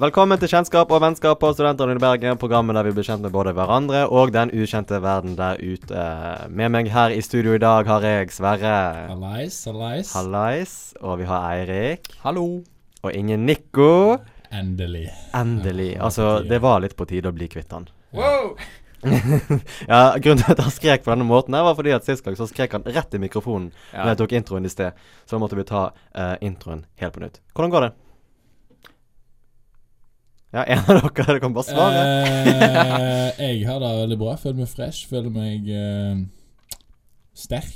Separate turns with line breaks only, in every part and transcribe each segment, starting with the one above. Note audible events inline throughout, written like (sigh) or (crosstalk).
Velkommen til Kjennskap og vennskap på Studentradioen i Bergen. Programmet der vi blir kjent med både hverandre og den ukjente verden der ute. Med meg her i studio i dag har jeg Sverre.
Hallais, hallais.
Hallais. Og vi har Eirik.
Hallo.
Og ingen Nico.
Endelig.
Endelig. Altså, det var litt på tide å bli kvitt han. ja, Grunnen til at han skrek på denne måten, her var fordi at sist gang så skrek han rett i mikrofonen
Ja.
når jeg tok introen i sted. Så da måtte vi ta eh, introen helt på nytt. Hvordan går det? Ja, en av dere (laughs) det kan bare svare.
Eh, jeg har det veldig bra. Føler meg fresh. Føler meg eh, sterk.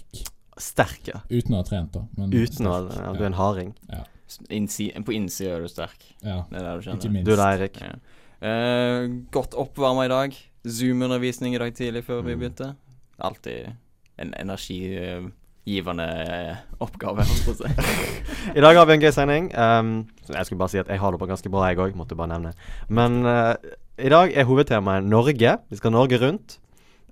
Sterk, ja.
Uten å ha trent, da. men
Uten å
mm, sterk.
ja, Du er en harding.
Innsi, på innsida er du sterk.
Ja,
Det er det du
ikke
kjenner.
minst.
Du da, Eirik.
Ja. Eh, godt oppvarma i dag. Zoom-undervisning i dag tidlig før vi
Mm.
begynte. Alltid en energigivende eh, oppgave, holdt jeg på å si.
I dag har vi en gøy sending. ehm, så jeg skulle bare si at jeg har det på ganske bra, jeg òg. Måtte bare nevne. Men eh, i dag er hovedtemaet Norge. Vi skal Norge rundt.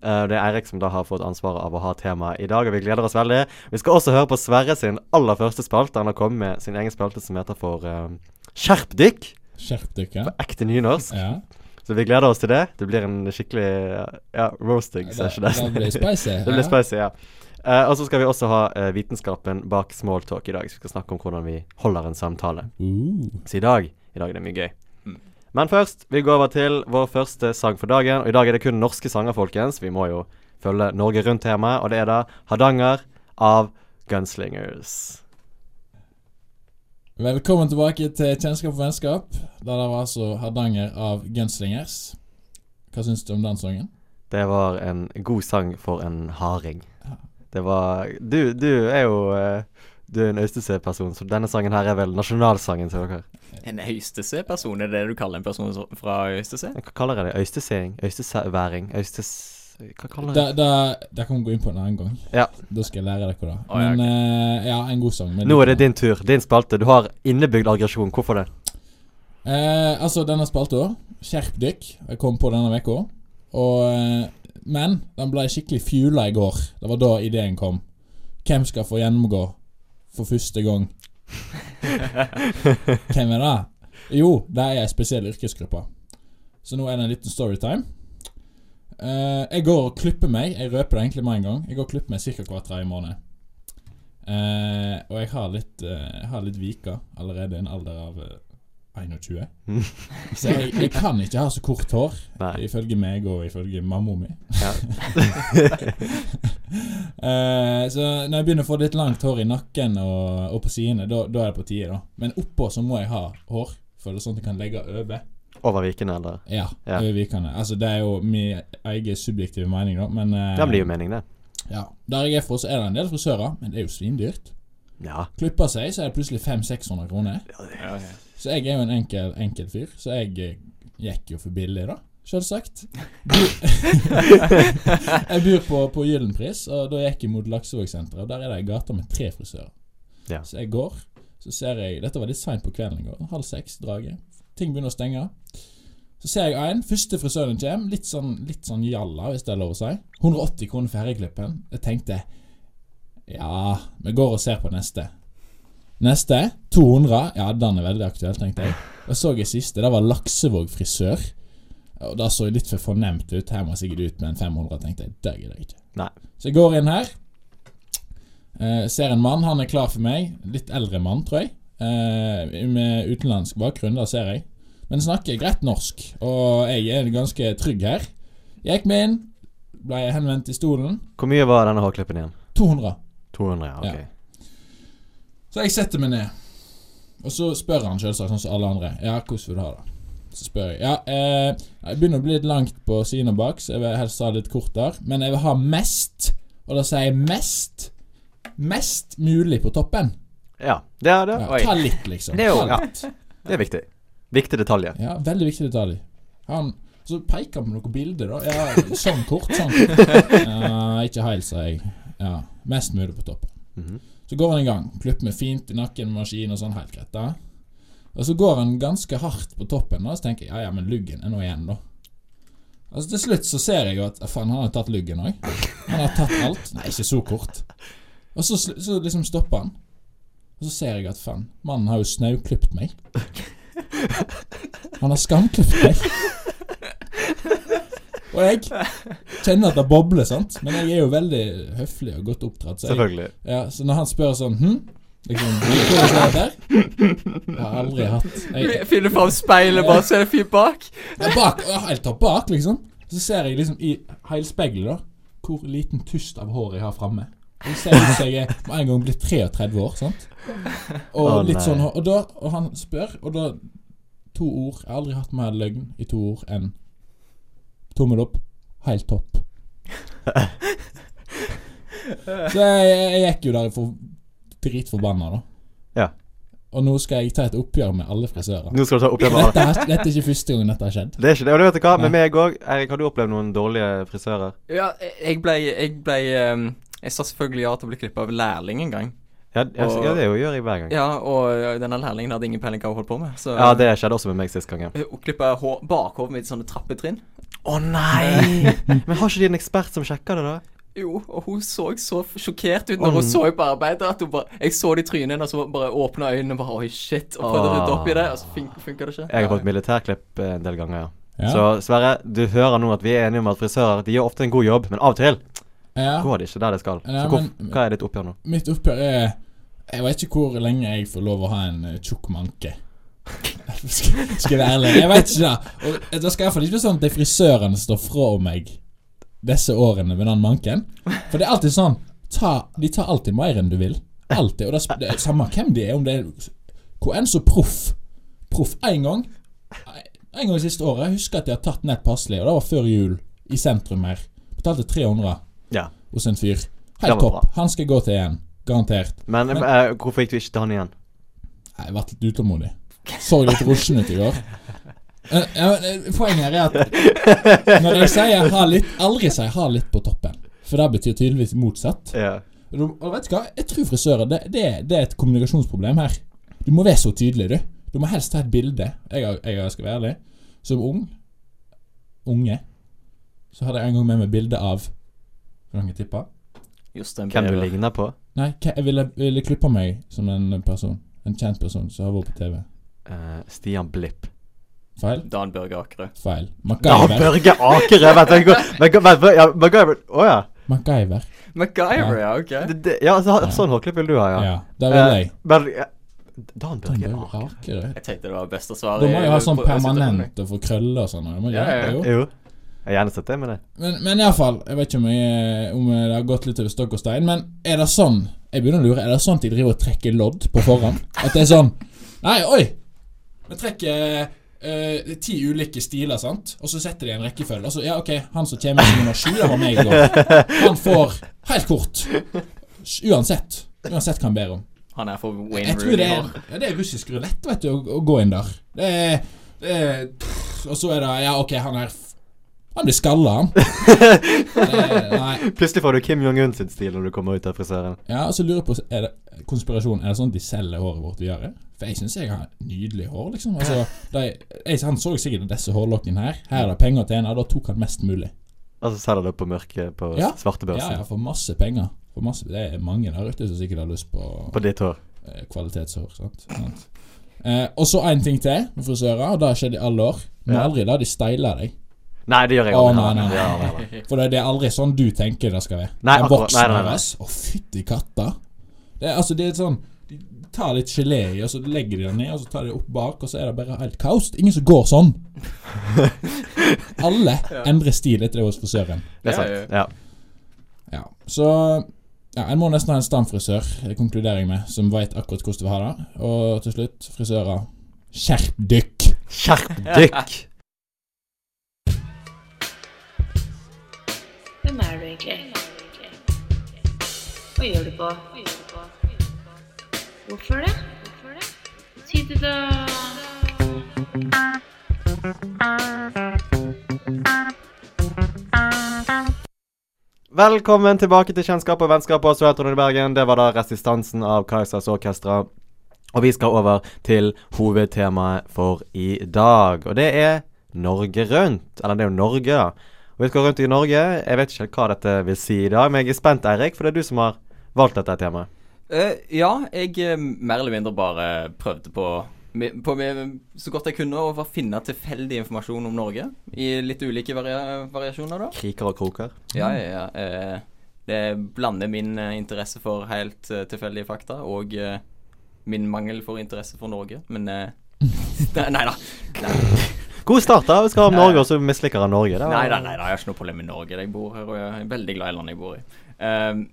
Eh, det er Eirik som da har fått ansvaret av å ha temaet i dag, og vi gleder oss veldig. Vi skal også høre på Sverre sin aller første spalte. Han har kommet med sin egen spalte som heter for eh, Skjerp dykk!
Skjerp dere.
Ekte nynorsk.
Ja.
Så vi gleder oss til det. Det blir en skikkelig eh, ja, roasting
Det,
session.
det blir spicy.
(laughs) Det blir
ja.
spicy, ja. Eh, og så skal vi også ha eh, vitenskapen bak smalltalk i dag. Så vi skal snakke om hvordan vi holder en samtale.
Uh,
Så i dag, i dag er det mye gøy.
Mm.
Men først, vi går over til vår første sang for dagen. Og i dag er det kun norske sanger, folkens. Vi må jo følge Norge Rundt-temaet, og det er da 'Hardanger' av Gunslingers.
Velkommen tilbake til Kjennskap og vennskap. Der det var altså Hardanger av Gunslingers. Hva syns du om den sangen?
Det var en god sang for en harding. Det var Du, du er jo eh, Du er en Øystese-person, så denne sangen her er vel nasjonalsangen til dere.
En Øystese-person, er det det du kaller en person som- fra Øystese?
Hva kaller jeg det? Øysteseing? Øysteseværing? Øystes... Hva kaller jeg det?
Da, da, da kan vi gå inn på en annen gang.
Ja.
Da skal jeg lære dere det.
Å, ja,
Men eh, ja, en god sang. men
Nå er det
likevel.
din tur. Din spalte. Du har innebygd aggresjon. Hvorfor det?
Eh, altså, denne spalta, skjerp dykk, jeg kom på denne uka. Og eh, Men den ble skikkelig fjula i går. Det var da ideen kom. Hvem skal få gjennomgå for første gang? Hvem er det? Jo, det er ei spesiell yrkesgruppe. Så nå er det en liten storytime. Eh, jeg går og klipper meg. Jeg røper det egentlig med en gang. Jeg går og klipper meg ca. hver tredje måned. Eh, og jeg har litt, eh, jeg har litt viker allerede i en alder av eh, 21.
Mm.
Så jeg, jeg kan ikke ha så kort hår,
Nei.
ifølge meg og ifølge mamma mi.
Ja.
(laughs) Eh, så når jeg begynner å få litt langt hår i nakken og, og på sidene, da da er det på tide, da. Men oppå så må jeg ha hår, for det er sånn at jeg kan legge over.
Over Viken, eller?
Ja,
Ja.
over vikene. Altså, det er jo min egen subjektive mening, da, men eh,
Det blir jo mening, det.
ja. Der jeg er fra, så er det en del frisører, men det er jo svindyrt.
Ja.
Klipper seg, så er det plutselig 500-600 kroner.
Ja, ok.
Så jeg er jo en enkel, enkel fyr, så jeg eh, gikk jo for billig, da. Selvsagt. Bu- jeg bor på, på Gyllenpris, og da gikk jeg mot Laksevågsenteret. og Der er det ei gate med tre frisører.
Ja.
Så jeg går, så ser jeg Dette var litt seint på kvelden i går. Halv seks, draget. Ting begynner å stenge. Så ser jeg en. Første frisøren kommer. Litt sånn, litt sånn jalla, hvis det er lov å si. 180 kroner for herreklippen. Jeg tenkte Ja, vi går og ser på neste. Neste 200. Ja, den er veldig aktuell, tenkte jeg. Og så jeg siste. Det var Laksevåg frisør. Og Det så litt for fornemt ut. Her må jeg sikkert ut med en 500, tenkte jeg. Det gidder jeg ikke.
Nei.
Så jeg går inn her. eh, ser en mann. Han er klar for meg. Litt eldre mann, tror jeg. Eh, med utenlandsk bakgrunn, det ser jeg. Men snakker greit norsk, og jeg er ganske trygg her. Jeg gikk med inn, ble henvendt i stolen.
Hvor mye var denne hårklippen igjen?
200.
200, ja. Ok.
Så jeg setter meg ned. Og så spør han selvsagt, sånn som alle andre. Ja, hvordan vil du ha det? Så spør jeg. Ja, eh, jeg begynner å bli litt langt på siden og bak, så jeg vil helst ha litt kort der. Men jeg vil ha mest, og da sier jeg mest, mest mulig på toppen.
Ja. Det er det.
Ja,
Oi.
ta litt, liksom.
Det er jo-
Ta
ja.
litt.
Det er viktig. Viktige detaljer.
Ja, veldig viktig detalj. Han, så peker han på noen bilder, da. Ja, sånn kort, sånn kort. Ja, ikke heil, sa jeg. Ja, mest mulig på toppen.
Mhm.
Så går han i gang. Klipper meg fint i nakken med maskin og sånn, helt greit, da. Og så går han ganske hardt på toppen, da, så tenker jeg ja, ja, men luggen er nå igjen, da. Altså Til slutt så ser jeg jo at faen, han har tatt luggen òg. Han har tatt alt. Nei, ikke så kort. Og så, sl- så liksom stopper han. Og så ser jeg at faen, mannen har jo snauklipt meg. Han har skamklippet meg. Og jeg kjenner at det bobler, sant. Men jeg er jo veldig høflig og godt oppdratt. Så, jeg,
Selvfølgelig.
ja, så når han spør sånn hm, liksom, Hvordan er det der? Jeg har aldri hatt jeg,
Finner fram speilet, bare så er det fyr bak.
jeg, bak, ja, Helt opp bak, liksom. Så ser jeg liksom i heilspeilet, da, hvor liten tust av hår jeg har framme. Jeg ser ut som jeg er med en gang blitt 33 år, sant. Og
Å,
litt
nei.
sånn Og da Og han spør, og da To ord. Jeg har aldri hatt mer løgn i to ord enn tommel opp, helt
(laughs)
topp. Så jeg, jeg gikk jo der for dritforbanna, da.
Ja.
Og nå skal jeg ta et oppgjør med alle frisører.
Nå skal du ta oppgjør med
(laughs)
alle.
Dette, er- dette er ikke første gang dette har skjedd.
Det er ikke det. Og du vet hva, med meg òg. Eirik, har du opplevd noen dårlige frisører?
Ja, jeg ble Jeg ble ehm, Jeg sa selvfølgelig ja til å bli klippet av lærling en gang.
Ja, jeg,
Og-
ja, det gjør jeg hver gang.
Ja, og denne lærlingen hadde ingen peiling hva hun holdt på med. Så
Ja, det skjedde også med meg sist gangen.
hun klippet hår- bakhodet mitt i sånne trappetrinn.
Å nei! (laughs) Men har ikke de en ekspert som sjekker det, da?
Jo, og hun så så sjokkert ut
Å,
når hun
n-
så på arbeidet. At hun bare, jeg så det i trynet hennes, og så bare åpna øynene og bare Oi, shit. Og prøvde å rydde opp i det, og så fun funka det ikke.
Jeg har fått militærklipp eh, en del ganger, ja.
Ja.
Så Sverre, du hører nå at vi er enige om at frisører de gjør ofte en god jobb, men av og til
ja.
går det ikke der det skal. Så
Ja,
hvor,
men-
hva er ditt oppgjør nå?
Mitt oppgjør er Jeg vet ikke hvor lenge jeg får lov å ha en eh, tjukk manke. skal skal jeg være ærlig? Jeg vet ikke det. Og eh, det skal i hvert fall ikke bli sånn at det er frisøren som står fra meg disse årene med den manken. For det er alltid sånn ta, De tar alltid mer enn du vil. Alltid. Og det, sp- det er samme hvem de er, om det er hvor enn så proff. Proff én gang. En gang siste året. Jeg husker at de har tatt nett passelig, og det var før jul. I sentrum her. Betalte 300
Ja.
hos en fyr.
Det var
Helt topp.
bra.
Han skal gå til igjen. Garantert.
Men,
Men-
eh, hvorfor gikk du ikke til han igjen?
Jeg har vært litt utålmodig. Så litt rushen ut i går. Eh, ja, men, eh, Poenget her er at når jeg sier ha litt, aldri sier ha litt på toppen. For det betyr tydeligvis motsatt.
Ja.
Og du- og vet du hva? Jeg tror frisører det, det, er- det er et kommunikasjonsproblem her. Du må være så tydelig, du. Du må helst ha et bilde. Jeg, har- jeg skal være ærlig. Som ung Unge. Så hadde jeg en gang med meg bilde av Hvor mange tipper?
Jostein
Hvem du
Bieber.
ligner på?
Nei, hva- jeg ville, ville klippe meg som en person. En kjent person som har vært på TV.
Eh, Stian Blipp.
Feil?
Dan Børge Akerø.
Feil.
Ja,
MacGyver.
Børge Akerø! Vent, vent, vent, vent, vent, vent ja, MacGyver. Å ja.
MacGyver.
MacGyver, ja. OK.
Det, det, ja, så, sånn hårklipp vil du ha,
Ja,
ja.
det vil jeg.
Eh, men eh, Dan
Den
Børge
bør
Akerø
rakere.
Jeg tenkte det var best å svare
Da må jeg ha sånn
på- på-
permanent og få krøller og sånn. og jeg må
Ja,
gjøre
ja,
det jo.
Jo. Jeg har gjerne sett det med det.
Men, men iallfall, jeg vet ikke om, jeg, om det har gått litt over stokk og stein, men er det sånn Jeg begynner å lure. Er det sånn at de driver og trekker lodd på forhånd? At det er sånn Nei, oi! Vi trekker eh, ti ulike stiler, sant? Og så setter de en rekkefølge. Og så, ja, ok, han som kommer som nummer sju, det var meg i går. Han får helt kort. Uansett. Uansett hva han ber om.
Han er for Wayne
Jeg tror det
Rooney.
er, ja, det er russisk rulett, vet du, å, å gå inn der. Det er, det er Og så er det Ja, ok, han er f- Han blir skalla, han. Det er- Nei.
Plutselig får du Kim Jong-un sin stil når du kommer ut av frisøren.
Ja, og så lurer jeg på Er det konspirasjon? Er det sånn at de selger håret vårt videre? For jeg syns jeg har nydelig hår, liksom. Altså, de, jeg, han så sikkert disse hårlokkene her. Her er det penger å tjene, da tok han mest mulig.
Og så selger du på mørke på
Ja. Ja,
svartebørsen.
ja, for masse penger. For masse, det er mange der ute som sikkert har lyst på
På ditt hår.
eh, kvalitetshår. Sant? Sant? Eh, og så en ting til med frisører, og det har skjedd i alle år. Må
Ja.
aldri la de steile deg.
Nei, det gjør jeg
Å,
aldri.
nei, nei, nei.
Ja, nei, nei.
For det, det er aldri sånn du tenker det skal være.
Nei,
en
akkurat.
voksen
Nei, nei, nei.
ass. Å, fytti katta. Det er, altså, det er sånn De tar litt gelé i, og så legger de det ned, og så tar de det opp bak, og så er det bare helt kaos. Det er Ingen som går sånn.
(laughs)
Alle endrer stil etter det hos frisøren.
Det er
Ja,
sant. Ja.
Ja, så ja, En må nesten ha en stamfrisør, eh, konkluderer jeg med, som veit akkurat hvordan du vil ha det. Og til slutt, frisører. Skjerp dykk!
Skjerp (laughs) dykk!
(laughs)
Hvem er du egentlig? Hva gjør du på? Hvorfor det? Si det, da.
Velkommen tilbake til Kjennskap og vennskap på Sør-Trond i Bergen. Det var da resistansen av Kaizers Orkestra. Og vi skal over til hovedtemaet for i dag, og det er Norge rundt. Eller det er jo Norge, da. Og vi skal rundt i Norge. Jeg vet ikke helt hva dette vil si i dag, men jeg er spent, Eirik, for det er du som har valgt dette temaet.
Eh, ja, jeg eh, mer eller mindre bare prøvde på med- på med, så godt jeg kunne over å finne tilfeldig informasjon om Norge. I litt ulike varia variasjoner, da.
Kriker og kroker.
Ja, ja, ja. eh, Det blander min eh, interesse for helt eh, tilfeldige fakta og eh, min mangel for interesse for Norge, men eh, (laughs) Nei nei da.
God start, da. Vi skal ha om
Ja, ja.
Norge, og så misliker han Norge. Det var-
Nei da, nei da, jeg har ikke noe problem med Norge. Jeg bor her, og jeg er veldig glad i landet jeg bor i. Um,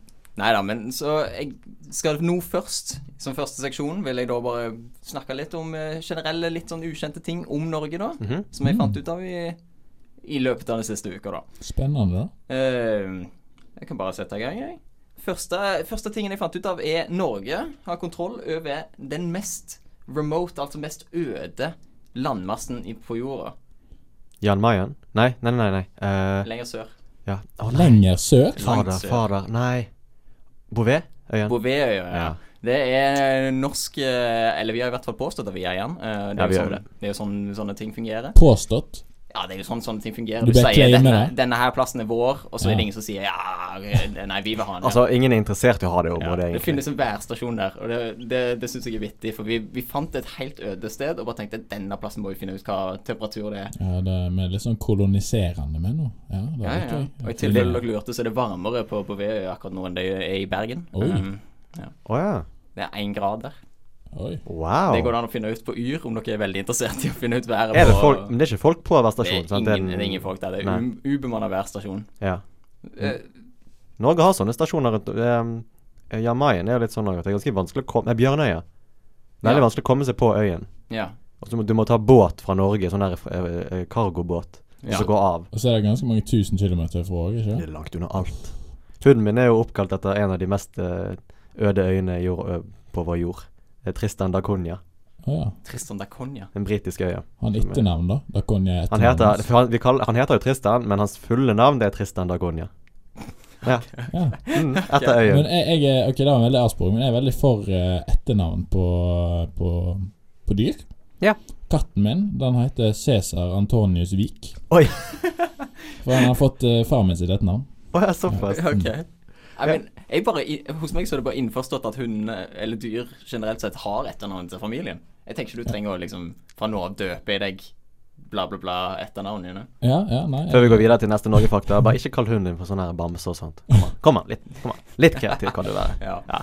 nei da, men så jeg skal nå først, som første seksjon, vil jeg da bare snakke litt om eh, generelle, litt sånn ukjente ting om Norge, da.
Mhm.
Som jeg fant ut av i, i løpet av den siste uka, da.
Spennende, da.
Eh, jeg kan bare sette i gang, jeg. Første, første tingen jeg fant ut av, er Norge har kontroll over den mest remote, altså mest øde landmassen i- på jorda.
Jan Mayen? Nei, nei, nei. nei. Eh,
Lenger sør.
ja. Å, nei.
Lenger sør.
Langt
Fader,
sør.
fader. Nei. Bouvet? Øyen?
Bouvetøya, ja.
Ja.
Det er norsk eh, Eller vi har i hvert fall påstått at vi er igjen. Eh, Det
Ja,
er
vi
jo
har
sånn,
det.
det er jo sånn sånne ting fungerer.
Påstått.
Ja, det er jo sånn sånne ting fungerer.
Du
Du, sier
reclaimer
denne,
det.
denne her plassen er vår, og så
Ja.
er det ingen som sier ja, eh, nei, vi vil ha den.
Altså, ingen er interessert i å ha det
Ja,
området,
det
egentlig.
finnes en værstasjon der, og det, det, det syns jeg er vittig. For vi, vi fant et helt øde sted og bare tenkte denne plassen må vi finne ut hva temperatur det er.
Ja, det er med litt sånn koloniserende med nå. Ja, det
Ja,
er
ja.
litt gøy.
Og i tilfelle dere lurte, så er det varmere på, på Veøy akkurat nå enn det er i Bergen.
Oi.
Um,
Å ja.
det er én grad der.
Oi.
Wow.
Det går det an å finne ut på Yr om dere er veldig interessert i å finne ut været.
Er det
på-
folk Men det er ikke folk på hver
Det er
stasjon? sant?
ingen,
en-
det er ingen folk der. Det
Nei. Mm.
er ubemanna værstasjon.
Ja.
Eh,
Norge har sånne stasjoner rundt um, Jan Mayen er jo litt sånn at det er ganske vanskelig å komme Nei, Bjørnøya. Veldig
Ja.
vanskelig å komme seg på øyen.
ja.
Og så må, du må ta båt fra Norge, sånn der eh, eh, kargobåt, og
Ja.
så gå av.
Og så er det ganske mange tusen kilometer fra òg, ikke
Det er langt unna alt. Hunden min er jo oppkalt etter en av de mest eh, øde øyene i jord, ø, på vår jord. Det er Tristan da Cunha,
Å ja.
Tristan da Cunha.
en britisk øye.
Han etternavn, da? Da kan jeg
Han
etternavnet
heter,
hans.
for han, vi kaller, han heter jo Tristan, men hans fulle navn det er Tristan da Cunha. Ja.
Ja.
Mm, etter
Men
øyen.
jeg, jeg er, ok, det var en veldig avsporing, men jeg er veldig for eh, etternavn på, på, på dyr.
Ja.
Katten min den heter Cæsar Antonius Vik.
Oi.
For han har fått uh, far min sitt etternavn.
Å ja, såpass.
Ok. Jeg men, jeg bare, i- hos meg så er det bare innforstått at hundene, eller dyr generelt sett, har etternavn til familien. Jeg tenker ikke du trenger å liksom fra nå av døpe i deg bla, bla, bla etternavn dine.
Ja, ja, nei.
Før vi går videre til neste Norgefakta, bare ikke kall hunden din for sånn her bamse og sånt. Kom an, kom an, litt, kom an. litt kreativ kan du være.
Ja.
Ja.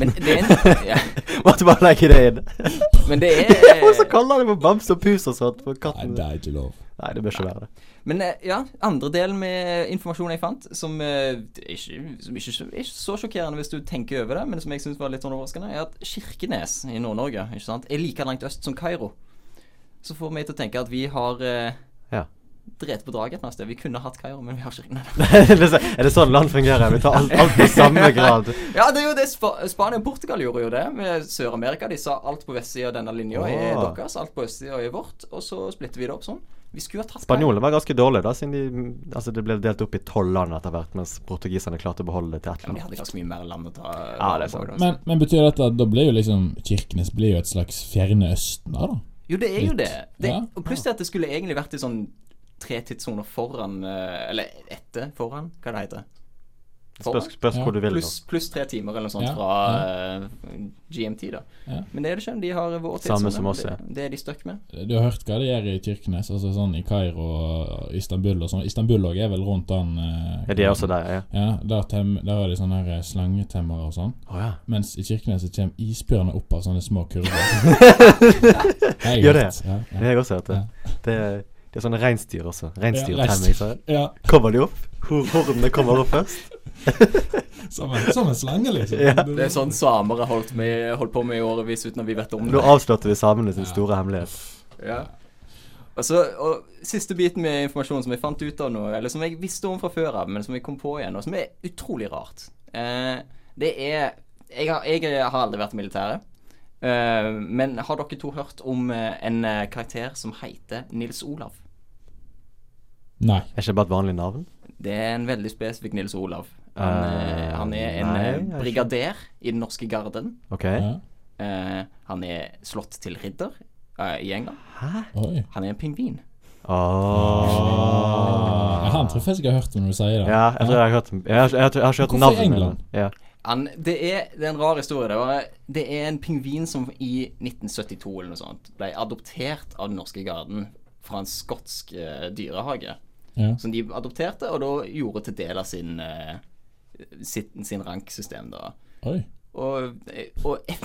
Men det er en,
(laughs)
ja.
Måtte bare legge det inn.
Men (laughs) det
(laughs) Og så
er
kaller han det for bamse og pus og sånt for
Nei,
katten.
det er ikke lov.
Nei, det bør ikke være det. (laughs)
Men eh, ja, andre delen med informasjonen jeg fant, som eh, ikke, som ikke, ikke så sjokkerende hvis du tenker over det, men som jeg syns var litt sånn overraskende, er at Kirkenes i Nord-Norge ikke sant, er like langt øst som Kairo. Så får meg til å tenke at vi har eh,
Ja.
drept på draget et eller annet sted. Vi kunne hatt Kairo, men vi har Kirkenes.
(laughs) er det så- er det sånn land fungerer? Vi tar alt, alt på samme grad.
Ja, det er jo det Spa Spania og Portugal gjorde jo det. Med Sør-Amerika. De sa alt på vestsida av denne linja er
Ah.
deres, alt på østsida er vårt. Og så splitter vi det opp sånn. Vi skulle ha tatt Kairo.
Spanjolene var ganske dårlige, da, siden de Altså, det ble delt opp i tolv land etter hvert, mens portugiserne klarte å beholde det til ett
Ja, men de
land.
hadde ganske mye mer land å ta altså.
Ja, det er sant.
Men, men betyr dette at da blir jo liksom Kirkenes blir jo et slags fjerne østen da, da?
Jo, det er jo
Litt.
det. det
Ja.
Og pluss det at det skulle egentlig vært i sånn tre tidssoner foran eh, Eller etter foran, hva det heter.
Spørs, spørs
Ja.
hvor du vil nå.
Pluss pluss tre timer eller noe sånt
Ja,
fra eh, GMT, da.
Ja.
Men det er det ikke. De har vår
Samme
tidssone.
som oss, ja.
Det, det er de stuck med.
Du har hørt hva det gjør i Kirkenes, altså sånn i Kairo og Istanbul og sånn. Istanbul også er vel rundt den eh,
Ja, de er også der, ja.
Ja, der, tem, der er det sånne her slangetemmere og sånn.
Å ja.
Mens i Kirkenes så kommer isbjørner opp av sånne små
(laughs)
kurver. Jeg
Gjør
vet,
Det
Ja, ja.
har jeg også hørt. Det. Det, er- det er sånne reinsdyr også.
Ja,
Reinsdyrtemming. så
Ja,
Kommer de opp? Hvor hornene kommer opp
(laughs)
først?
som en, som en slange, liksom.
Ja.
Det er sånn samere holdt, med, holdt på med i årevis uten at vi vet om
Nå
det.
avslørte vi samene sin store hemmelighet.
Ja. Og, så, og siste biten med informasjon som jeg fant ut av nå, eller som jeg visste om fra før av, men som jeg kom på igjen, og som er utrolig rart, eh, det er jeg har, jeg har aldri vært i militæret. eh, men har dere to hørt om eh, en eh, karakter som heter Nils Olav?
Nei.
Er ikke det bare et vanlig navn?
Det er en veldig spesifikk Nils Olav. Han, eh,
Eh,
han er en
nei,
eh,
jeg har ikke-
brigader i den norske garden.
OK.
Ja.
Eh, han er slått til ridder eh, i England.
Hæ?
Oi.
Han er en pingvin.
Åh.
Ah.
Ja, han tror jeg faktisk jeg har hørt om når du sier det.
Ja, jeg tror jeg har hørt Jeg har, jeg har, jeg har ikke hørt
Hvorfor i
navnet.
England?
men- Ja.
Han, det, er, det er en rar historie. Det, var, det er en pingvin som i 1972 eller noe sånt ble adoptert av den norske garden fra en skotsk eh, dyrehage.
Ja.
Som de adopterte, og da gjorde til del av sin, eh, sitt, sin ranksystem, da.
Oi.
Og, eh, og (laughs)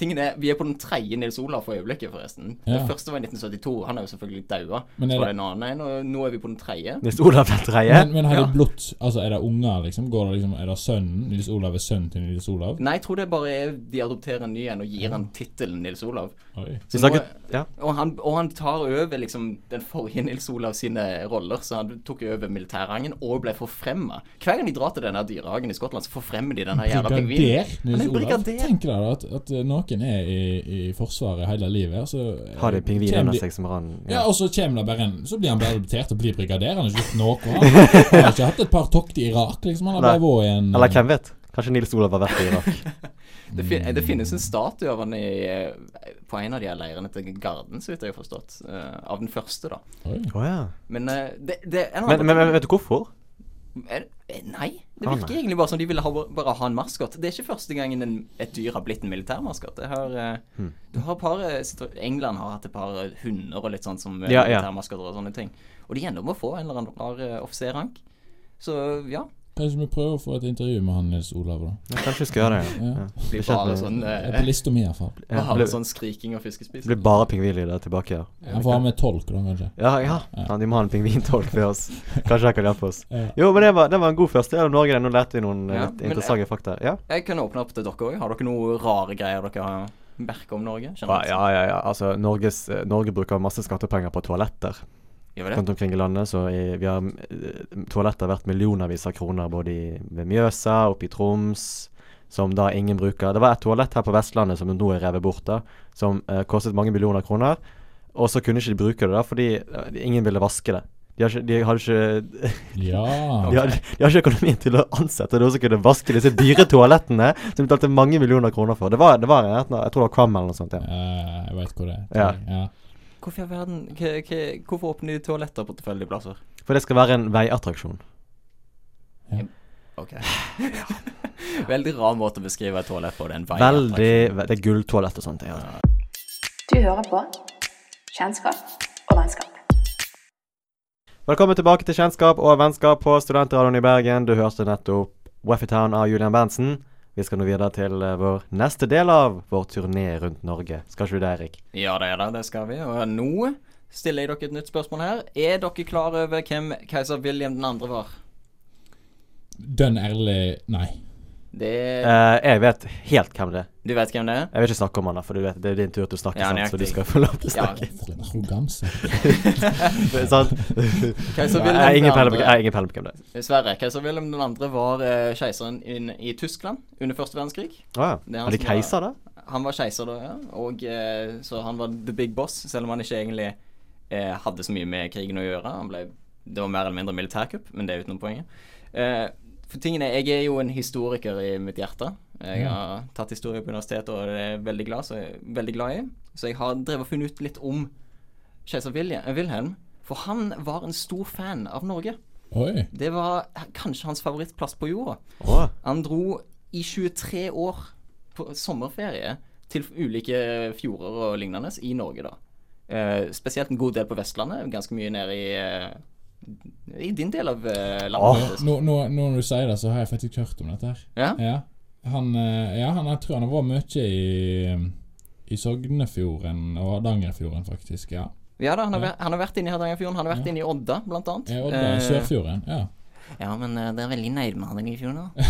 tingen er, Vi er på den tredje Nils Olav for øyeblikket, forresten.
Ja.
Den første var i 1972. Han er jo selvfølgelig daua.
Men er
Så var
det-
det en annen en, og nå er vi på den tredje.
Nils Olav den tredje.
Men, men har
Ja.
de blått Altså, er det unger, liksom? Går det liksom Er det sønnen? Nils Olav er sønnen til Nils Olav?
Nei, jeg tror det bare er de adopterer en ny en og gir han tittelen Nils Olav.
Oi.
Vi
Så nå,
snakket Ja.
og, han, og han tar over liksom den forrige Nils Olav sine roller, så han tok over militærrangen og ble forfremma. Hver gang de drar til denne dyrehagen i Skottland, så forfremmer de denne jævla pingvinen.
Brigader Nils
Han er
Olav.
brigader.
Tenk deg da at, at noen er i, i Forsvaret hele livet, så eh,
Har de pingvin
kjem
under
de-
seg som ran?
Ja,
Ja.
og så kommer det bare en Så blir han bare adoptert og blir brigader. Han har ikke gjort noe. Han han har ikke hatt et par tokt i Irak, liksom. Han har
Nei.
bare vært i en
Eller hvem vet? Kanskje Nils Olav har vært i Irak.
Det, fin det finnes en statue av han i, eh, på en av de her leirene til Garden, så vidt jeg har forstått. eh, av den første, da.
Oi.
(laughs) Å ja.
Men eh, det, det er en
men,
annen-
men, men vet du hvorfor?
Er- eh, Nei. Det
Å,
virker
Ah, nei.
egentlig bare som de ville ha, bare ha en maskot. Det er ikke første gangen en, et dyr har blitt en militærmaskot. Det har, eh,
Hmm.
Du har et par eh, situ- England har hatt et par eh, hunder og litt sånn som eh,
Ja, ja.
militærmaskoter og sånne ting. Og de ender med å få en eller annen rar eh, offiserrank. Så ja.
Kanskje vi prøver å få et intervju med han Nils Olav, da.
Ja, Kanskje vi skal gjøre Mm. det. Ja.
Ja.
Ja.
Det blir
kjent
bare
med-
sånn,
Det
eh,
er på lista mi, iallfall.
(laughs) Ja, det
bare
blir-
sånn skriking og
Det
fiskespising.
blir bare pingvinlyder tilbake her.
Han får ha med tolk, da, kanskje.
Ja, ja. ja. De må ha en pingvintolk til (laughs) oss. Kanskje han kan hjelpe oss.
Ja.
Jo, men det var, det var en god første. Ja, Norge, nå lærte vi noen eh,
Ja,
litt
men-
interessante fakta. Ja?
Jeg kan åpne opp til dere òg. Har dere noen rare greier dere har merket om Norge?
ja,
generelt?
ja, ja. ja. Altså, Norges, eh, Norge bruker masse skattepenger på toaletter
Gjør vi det?
rundt omkring i landet. Så i, vi har eh, toaletter verdt millionervis av kroner både i, ved Mjøsa, oppe i Troms, som da ingen bruker. Det var et toalett her på Vestlandet som nå er revet bort, da, som eh, kostet mange millioner kroner. Og så kunne ikke de bruke det da, fordi eh, ingen ville vaske det. De, har ikke, de hadde ikke (laughs)
Ja.
De har, de har ikke økonomien til å ansette noen som kunne vaske disse dyre toalettene som de betalte mange millioner kroner for. Det var, det var i nærheten av- Jeg tror det var Kvam eller noe sånt. Ja.
Eh, jeg veit hvor det er.
Ja.
Ja.
Hvorfor i all verden hva- hva- Hvorfor åpner de toaletter på tilfeldige plasser?
For det skal være en veiattraksjon.
Ok. (laughs) Veldig rar måte å beskrive et toalett på. Det er en vei.
Veldig ve- Det er gulltoalett og sånt. Ja.
Du hører på Kjennskap og vennskap.
Velkommen tilbake til Kjennskap og vennskap på Studentradioen i Bergen. Du hørte nettopp Waffytown av Julian Berntsen. Vi skal nå videre til eh, vår neste del av vår turné rundt Norge. Skal ikke du det, Erik?
Ja, det er det. Det skal vi. Og nå stiller jeg dere et nytt spørsmål her. Er dere klar over hvem keiser William 2. var?
Dønn ærlig Nei.
Det
Eh, jeg vet helt hvem det er.
Du vet hvem det er?
Jeg vil ikke snakke om han, da, for du vet, det er din tur til å snakke,
Ja,
sant? så du
nøyaktig.
skal få lov til å
Ja.
snakke. (laughs)
For en arroganse.
sant?
Keiser
Nei, jeg har ingen peiling
Wilhelm
på-
2..
jeg har ingen peiling på hvem det er.
Dessverre. Keiser Wilhelm 2. var eh, keiseren inn i Tyskland under første verdenskrig.
Å ja.
Det er han
Er det
som var-
keiser, da?
Han var keiser da, ja. Og eh, så han var the big boss, selv om han ikke egentlig eh, hadde så mye med krigen å gjøre. Han ble, det var mer eller mindre militærkupp, men det er utenom poenget. Eh, for tingene, Jeg er jo en historiker i mitt hjerte. Jeg har tatt historie på universitetet og det er jeg veldig glad, så jeg er veldig glad i. Så jeg har drevet og funnet ut litt om keiser Vilje- eh, Wilhelm. For han var en stor fan av Norge.
Oi.
Det var kanskje hans favorittplass på jorda.
Å,
Han dro i 23 år på sommerferie til ulike fjorder og lignende i Norge, da. Eh, spesielt en god del på Vestlandet, ganske mye nede i eh, I din del av eh, landet.
Nå, nå, nå når du sier det, så har jeg faktisk hørt om dette her.
Ja?
Ja. Han, eh, ja, han jeg tror han har vært mye i, i Sognefjorden og Hardangerfjorden, faktisk. Ja.
ja da, han har, vært, han har vært inne i Hardangerfjorden. Han har vært inne i Odda, blant annet.
Ja, Og da,
Eh,
Sørfjorden. Ja.
ja, men eh, det er veldig nærme Hardangerfjorden, da.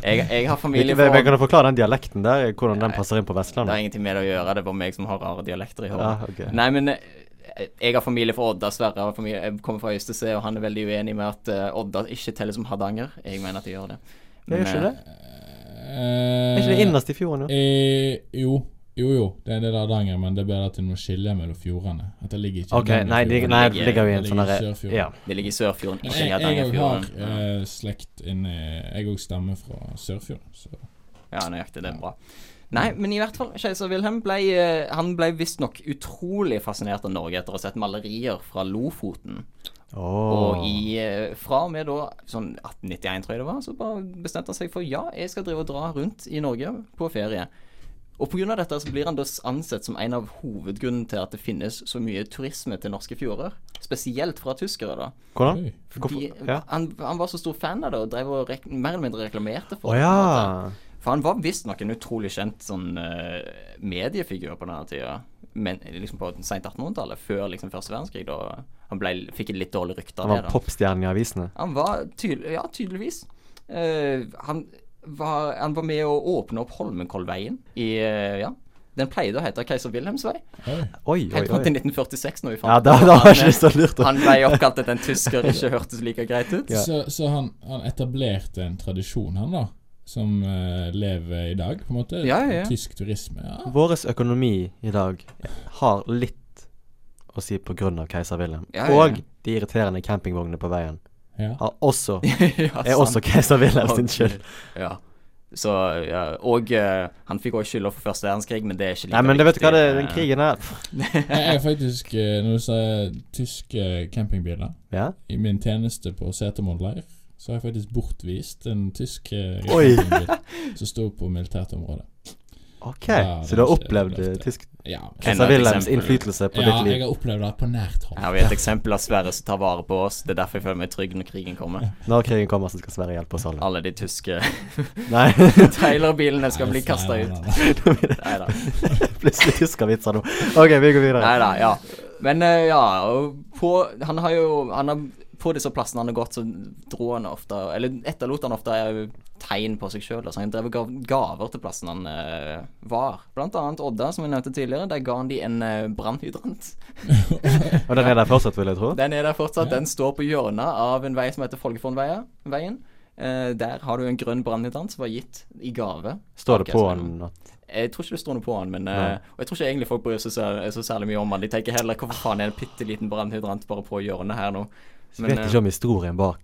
jeg, jeg har
Vi, vi,
familie fra
vi
Odda.
kan du forklare den dialekten der, hvordan den passer inn på
Det har
Vestlandet?
ingenting med det å gjøre, det er bare meg som har rare dialekter i
Ja,
hodet.
ok.
Nei, men eh, jeg har familie fra Odda, Sverre har familie, jeg kommer fra Øystese, og han er veldig uenig med at eh, Odda ikke teller som Hardanger. Jeg mener at de gjør det.
Det er jo ikke
eh,
det.
Eh,
Er ikke det innerst i fjorden, jo?
eh, jo. Jo, jo. Det er det der Hardanger, men det er bare at det er noe skille mellom fjordene. At det ligger ikke i
OK, nei, de,
Hardangerfjorden.
nei, det ligger jo i en
Det
sånn
ligger i
derre
Sørfjorden.
Ja.
eh, Det ligger i Sørfjorden,
Men
ikke i
Jeg, jeg har
Hardangerfjorden.
eh, slekt inni Jeg òg stammer fra Sørfjorden, så
Ja, nøyaktig. Det er bra. Nei, men i hvert fall, keiser Wilhelm ble, eh, han ble visstnok utrolig fascinert av Norge etter å ha sett malerier fra Lofoten. Og i, eh, fra og med da sånn 1891, tror jeg det var, så bare bestemte han seg for ja, jeg skal drive og dra rundt i Norge på ferie. Og pga. dette så blir han da ansett som en av hovedgrunnen til at det finnes så mye turisme til norske fjorder. Spesielt fra tyskere, da.
Hvordan?
Oi.
Hvorfor?
De,
Ja.
han, han var så stor fan av det og drev og rek mer eller mindre reklamerte for
Å
det. på en
ja.
måte. For han var visstnok en utrolig kjent sånn eh, mediefigur på denne tida. Men liksom på sent 1800-tallet, før liksom første verdenskrig, da han ble, fikk et litt dårlig rykte
Han
av det.
var
da.
popstjernen i avisene.
Han var tydel ja, tydeligvis. Eh, han, var, han var med å åpne opp Holmenkollveien i eh, Ja. Den pleide å hete Keiser Wilhelms vei.
Oi.
Oi, oi,
Helt fram til
oi.
1946, når vi fant
Ja, da,
ut at
da var
han,
ikke så lurt.
eh,
å-
Han ble oppkalt etter en tysker, ikke hørtes like greit ut.
(laughs) Ja.
Så, så han, han etablerte en tradisjon, han da, som eh, lever i dag, på en måte.
Ja, ja, ja.
Tysk turisme. ja.
(laughs) Vår økonomi i dag har litt å si på grunn av keiser Wilhelm.
Ja, ja, ja.
Og de irriterende campingvognene på veien
ja.
har også,
(laughs) (laughs) Ja,
er også keiser Wilhelm sin
Og-
skyld.
Ja. Så, ja. Og eh, han fikk også skylda for første verdenskrig, men det er ikke like
Nei, men det vet du hva, det,
viktig.
den krigen her
Jeg jeg er faktisk, eh, når du sier tyske campingbiler
Ja.
I min tjeneste på Setermoen leir så har jeg faktisk bortvist en tysk eh,
Oi.
campingbil som sto på militært område.
OK,
Ja,
så du har
det er ikke-
opplevd eh,
det er-
tysk
Ja, men-
Enda
keiser
et
Wilhelms
eksempel.
innflytelse på
ja
ditt
jeg
liv?
har opplevd det på nært hold.
eh, Her har vi et eksempel av Sverre som tar vare på oss. Det er derfor jeg føler meg trygg når krigen kommer.
Når krigen kommer, så skal Sverige hjelpe oss alle.
Alle de tyske
Nei,
(laughs) trailerbilene skal bli
Nei,
kasta
nei,
ut.
nei, nei.
Nei da.
(laughs) plutselig tyskervitser nå. OK, vi går videre.
Nei da, ja. Men eh, ja, og på, han har jo han har, På disse plassene han har gått, så dro han ofte Eller etterlot han ofte eh, tegn på seg sjøl. Altså han drev og gav gaver til plassen han eh, var. Blant annet Odda, som vi nevnte tidligere. Der ga han de en uh, brannhydrant. (laughs)
Og den er der fortsatt, vil jeg tro.
Den er der fortsatt. Den står på hjørnet av en vei som heter Folgefonnveien. Eh, der har du en grønn brannhydrant som var gitt i gave.
Står det på
Ok, så-
den at
Jeg tror ikke det står noe på han, men eh, Og jeg tror ikke egentlig folk bryr seg så, så særlig mye om han. De tenker heller hvorfor faen er en bitte liten brannhydrant bare på hjørnet her nå. eh,
Vi vet ikke om historien bak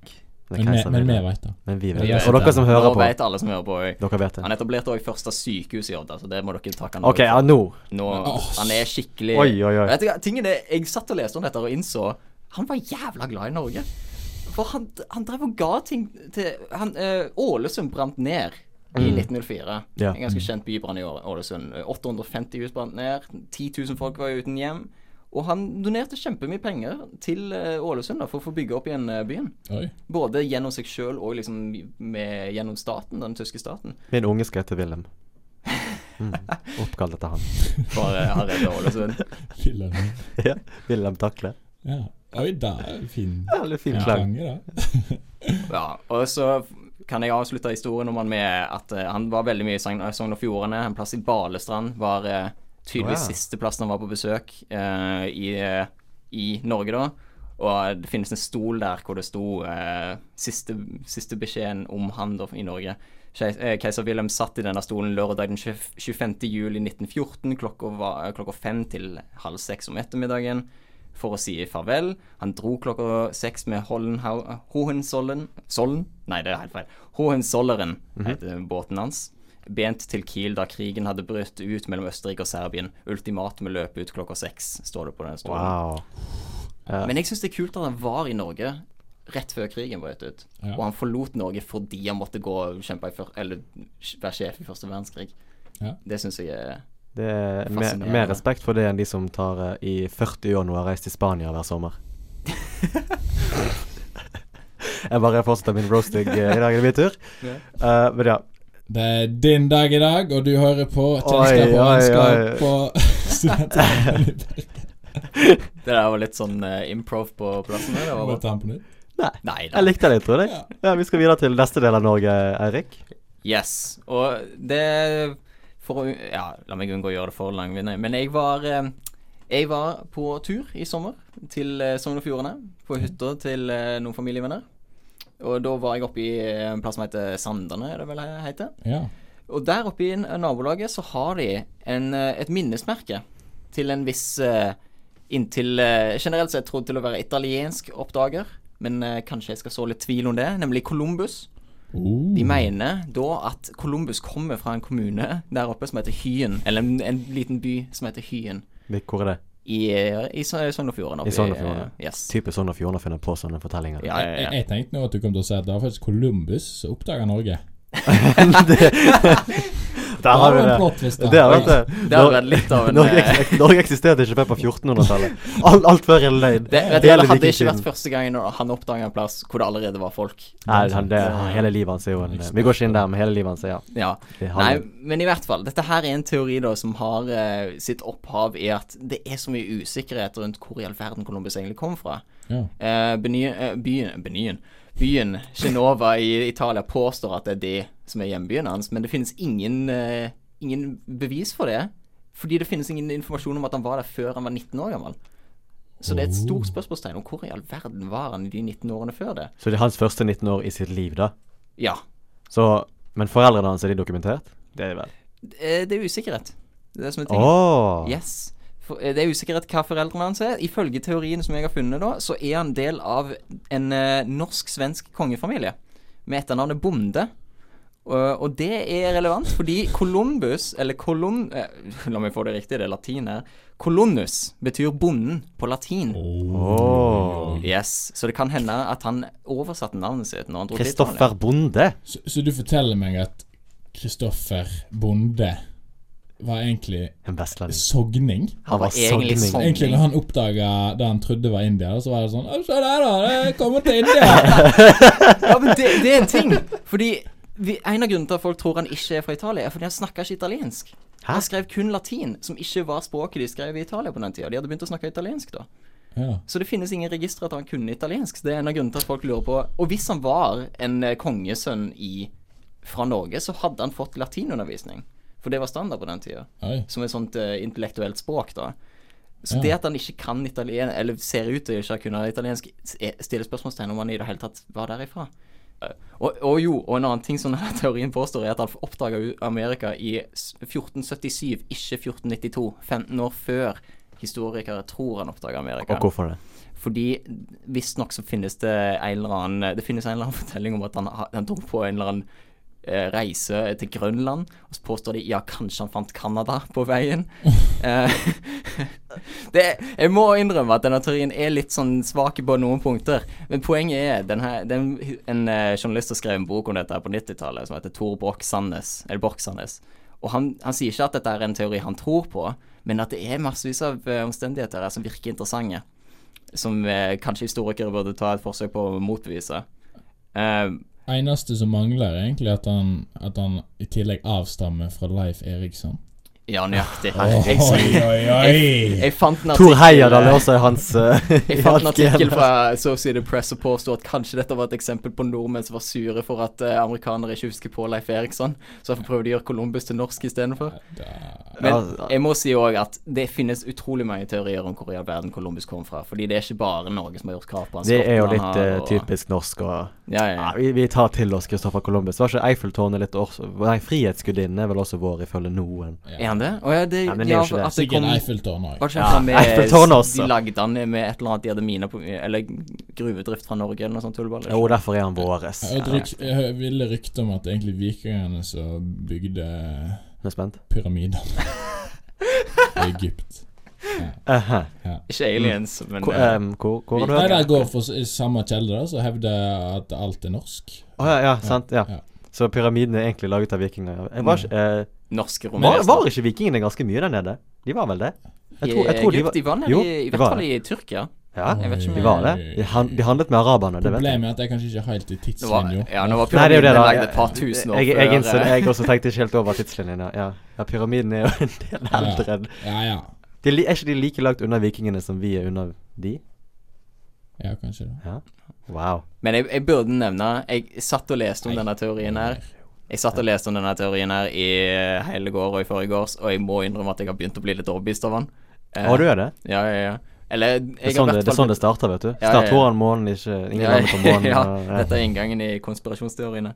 den
eh, Men vi-
keiser
Men vi
Wilhelm.
veit det.
Men vi vet
Vi
det.
vet
Og
det.
dere som hører på,
vet alle som hører på jeg.
dere vet det.
Han etablerte òg første sykehus i Odda, så det må dere takke han
OK,
for.
ja, nå.
Nå,
Åh,
Han er skikkelig
Oi, oi, oi.
Vet du hva, tingen er, Jeg satt og leste om dette og innså han var jævla glad i Norge. For han, han drev og ga ting til han, eh, Ålesund brant ned i 1904.
Mm. Ja.
En ganske kjent bybrann i Å- Ålesund. 850 hus brant ned. 10 000 folk var uten hjem. Og han donerte kjempemye penger til eh, Ålesund da, for å få bygge opp igjen eh, byen.
Oi.
Både gjennom seg sjøl og liksom med, gjennom staten, den tyske staten.
Min unge skal hete
(laughs)
Wilhelm. Mm. Oppkall dette han.
For eh, han redda Ålesund.
Filler.
Ja, Wilhelm Takle.
Ja. Oi, da. Fin
Ja, litt fin
ja.
klang.
klange, da.
Ja, og så kan jeg avslutte historien om han med at eh, han var veldig mye i Sogn Sogn og Fjordane. En plass i Balestrand var eh, tydeligvis
Wow.
siste plassen han var på besøk eh, i, eh, i Norge, da. Og det finnes en stol der hvor det sto eh, siste, siste beskjeden om han da, i Norge. Kei- eh, Keiser Wilhelm satt i denne stolen lørdag den 20 25. juli 1914 klokka, var, klokka fem til halv seks om ettermiddagen for å si farvel. Han dro klokka seks med Hollenhau- Hohensollen Sollen? Nei, det er helt feil. Hohenzolleren
Mhm.
heter båten hans. Bent til Kiel da krigen hadde brutt ut mellom Østerrike og Serbien. Ultimatumet løp ut klokka seks, står det på den stolen.
Wow.
Men jeg syns det er kult at han var i Norge rett før krigen brøt ut.
Ja.
Og han forlot Norge fordi han måtte gå og kjempe i før, eller være sjef i første verdenskrig.
Ja.
Det syns jeg er
Det er mer,
Fascinerende.
mer respekt for det enn de som tar eh, i 40 år nå og har reist til Spania hver
(laughs)
sommer. jeg bare fortsetter min roasting eh, i dag, er det min tur. Eh, men ja.
Det er din dag i dag, og du hører på Kjennskap
Oi,
og
oi,
vennskap
oi.
på
(laughs)
Studentradioen.
(laughs) Det der var litt sånn eh, improv på plassen. der, Det var
Må jeg
bra.
ta den på nytt?
Nei.
Nei da.
Jeg likte det, tror jeg. Ja, vi skal videre til neste del av Norge, Eirik.
Yes. Og det for å, Ja, la meg unngå å gjøre det for langvindig, men jeg var eh, Jeg var på tur i sommer til eh, Sogn og Fjordane. På hytta til eh, noen familievenner. Og da var jeg oppe i eh, en plass som heter Sandane, er det vel det heter.
Ja.
Og der oppe i n- nabolaget så har de en, eh, et minnesmerke til en viss eh, Inntil eh, generelt sett trodd til å være italiensk oppdager, men eh, kanskje jeg skal så litt tvil om det, nemlig Columbus.
Oh.
De
Mm.
mener da at Columbus kommer fra en kommune der oppe som heter Hyen. Eller en, en liten by som heter Hyen.
Hvil- Hvor er det?
I, i Sogn Sogn og Fjordane.
I Sogn og Fjordane.
eh, Yes.
Typisk Sogn og Fjordane finner på sånne fortellinger.
Ja, (laughs) ja,
Jeg,
ja.
jeg tenkte nå at du kom til å si at det var faktisk Columbus som oppdaga Norge. (laughs)
Der har du
det var en
det.
plot twist, da.
Det har vært det.
Det hadde vært litt av en
Norge,
eh,
eks- Norge eksisterte ikke før på 1400-tallet. Alt, alt før hele løgn.
det, vet du, hva, det hadde ikke
vikingtiden.
vært første gangen når han oppdaga en plass hvor det allerede var folk.
Nei, han, det, hele livet hans er jo en Vi går ikke inn der, men hele livet hans er ja.
Ja.
Det har
Nei,
vi.
men i hvert fall. Dette her er en teori da som har eh, sitt opphav i at det er så mye usikkerhet rundt hvor i all verden Columbus egentlig kom fra.
Ja.
Eh, beny, eh, byen, benyen. byen Genova i Italia påstår at det er det som er hjembyen hans, men det finnes ingen, eh, ingen bevis for det. Fordi det finnes ingen informasjon om at han var der før han var 19 år gammel. Så det er et stort spørsmålstegn om hvor i all verden var han i de 19 årene før det.
Så det er hans første 19 år i sitt liv, da.
Ja,
Så, men foreldrene hans, er de dokumentert? Det er de vel.
det er- eh, det er usikkerhet. Det er det som er
Åh!
tingen. Yes. For, eh, det er usikkerhet hva foreldrene hans er. Ifølge teorien som jeg har funnet, da, så er han del av en eh, norsk-svensk kongefamilie med etternavnet Bonde. Og- og det er relevant fordi Columbus, eller Colum... eh, la meg få det riktig, det er latin her. Colonnus betyr bonden på latin.
Åh.
Yes, Så det kan hende at han oversatte navnet sitt når han dro til Italia.
Kristoffer Bonde?
Så, så du forteller meg at Kristoffer Bonde var egentlig
En vestlending.
sogning?
Han var egentlig
sogning.
sogning.
Egentlig når han oppdaga det han trodde var India, så var det sånn «Å, Se der, da! Det kommer til
(laughs)
India!
Ja, men det, det er en ting. Fordi vi, En av grunnene til at folk tror han ikke er fra Italia, er fordi han snakker ikke italiensk. Han skrev kun latin, som ikke var språket de skrev i Italia på den tida. De hadde begynt å snakke italiensk da.
Ja.
Så det finnes ingen registre at han kunne italiensk. Så det er en av grunnene til at folk lurer på Og hvis han var en eh, kongesønn i, fra Norge, så hadde han fått latinundervisning. For det var standard på den tida.
Oi.
Som et sånt eh, intellektuelt språk, da. Så
Ja.
det at han ikke kan italiensk, eller ser ut til å ikke kunne italiensk, s- eh, stiller spørsmålstegn om han i det hele tatt var derifra. Eh, Og, og jo, og en annen ting som (laughs) denne teorien påstår, er at han oppdaga Amerika i s- 1477, ikke 1492. 15 år før historikere tror han oppdaga Amerika.
Og hvorfor det?
Fordi visstnok så finnes det en eller annen Det finnes en eller annen (laughs) fortelling om at han, ha- han dro på en eller annen eh, reise til Grønland, og så påstår de ja, kanskje han fant Canada på veien. Eh, (laughs) det, jeg må innrømme at denne teorien er litt sånn svak på noen punkter. Men poenget er den her, den, En eh, journalist har skrevet en bok om dette her på 90-tallet som heter Tor Broch Sandnes. Eller Broch Sandnes. Og han, han sier ikke at dette er en teori han tror på, men at det er massevis av eh, omstendigheter her som virker interessante som eh, kanskje historikere burde ta et forsøk på å motbevise. Eh,
Eneste som mangler, er egentlig at han, at han i tillegg avstammer fra Leif Eriksson.
ja, nøyaktig. Jeg,
Oi, oi, oi!
jeg fant en
Tor
artikkel,
Heyerdahl er også hans eh, (laughs)
jeg fant en
hans
artikkel
gen.
fra Associated Press som påsto at kanskje dette var et eksempel på nordmenn som var sure for at eh, amerikanere ikke husker på Leif Eriksson, så derfor prøvde de å gjøre Columbus til norsk istedenfor. Men
Ja,
jeg må si òg at det finnes utrolig mange teorier om hvor i all verden Columbus kom fra. Fordi det er ikke bare Norge som har gjort krav på han.
Det er jo
Skottland
litt
har,
eh,
og-
typisk norsk å
Ja, ja,
ja,
ja.
vi, vi tar til oss Kristoffer Columbus. Var ikke Eiffeltårnet litt også Nei, Frihetsgudinnen er vel også vår, ifølge noen.
Er han det? Å ja, det,
Ja, men det er
ja,
jo ikke det.
at det
Sikkert
kom
Eiffeltårn òg.
Var det ikke han
Eiffel
fra
Tårn
med
også.
De lagde han med et eller annet de hadde miner på Eller gruvedrift fra Norge eller noe sånt liksom. tullball.
Jo, derfor er han våres.
Jeg hørte rykt- jeg hø- ville rykte om at det egentlig vikingene som bygde
Er du spent?
(laughs)
pyramidene i Egypt.
Ehe.
Ikke aliens, men
Mm. Hvor,
eh,
ehm, hvor, hvor har du
Nei,
hørt
der går for s- i samme kjelde, da, så hevder at alt er norsk.
Å ja, ja, sant. Ja.
Ja.
Så pyramiden er egentlig laget av vikinger. Jeg Var, ikke, eh,
norske
var,
romvesener.
var ikke vikingene ganske mye der nede? De var vel det? Jeg tror, jeg tror de var
eh, de var nede
Jo,
i, i
de
hvert
var
fall
det.
i Tyrkia.
Ja,
Jeg vet ikke
de
om jeg-
var det. De, han, de handlet med araberne, det vet jeg.
Problemet er at jeg kanskje ikke er helt i
Det var,
tidslinja.
(laughs)
ja,
Nei, det er
nå var
jo
pyramiden
det, da.
lagd et par tusen år
jeg, jeg,
før.
innså det.
eh,
jeg også tenkte ikke helt over tidslinjen. ja. Ja. ja, pyramiden er jo (laughs) en del eldre enn
Ja, ja.
de, li- Er ikke de like langt unna vikingene som vi er unna de?
Ja, kanskje det.
Ja. Wow.
Men jeg, jeg burde nevne Jeg satt og leste om denne teorien her. Jeg satt og leste om denne teorien her i hele går og i forgårs, og jeg må innrømme at jeg har begynt å bli litt overbevist av han. Eh,
Å, du er det?
Ja, ja, ja. Eller jeg
Det er sånn
har
det,
i
det,
hvert
er sånn
fall
det starter, vet du.
ja,
Start
ja.
foran månen, ikke Ingen
Ja, (laughs)
andre på månen.
ja,
og-
dette er inngangen i konspirasjonsteoriene.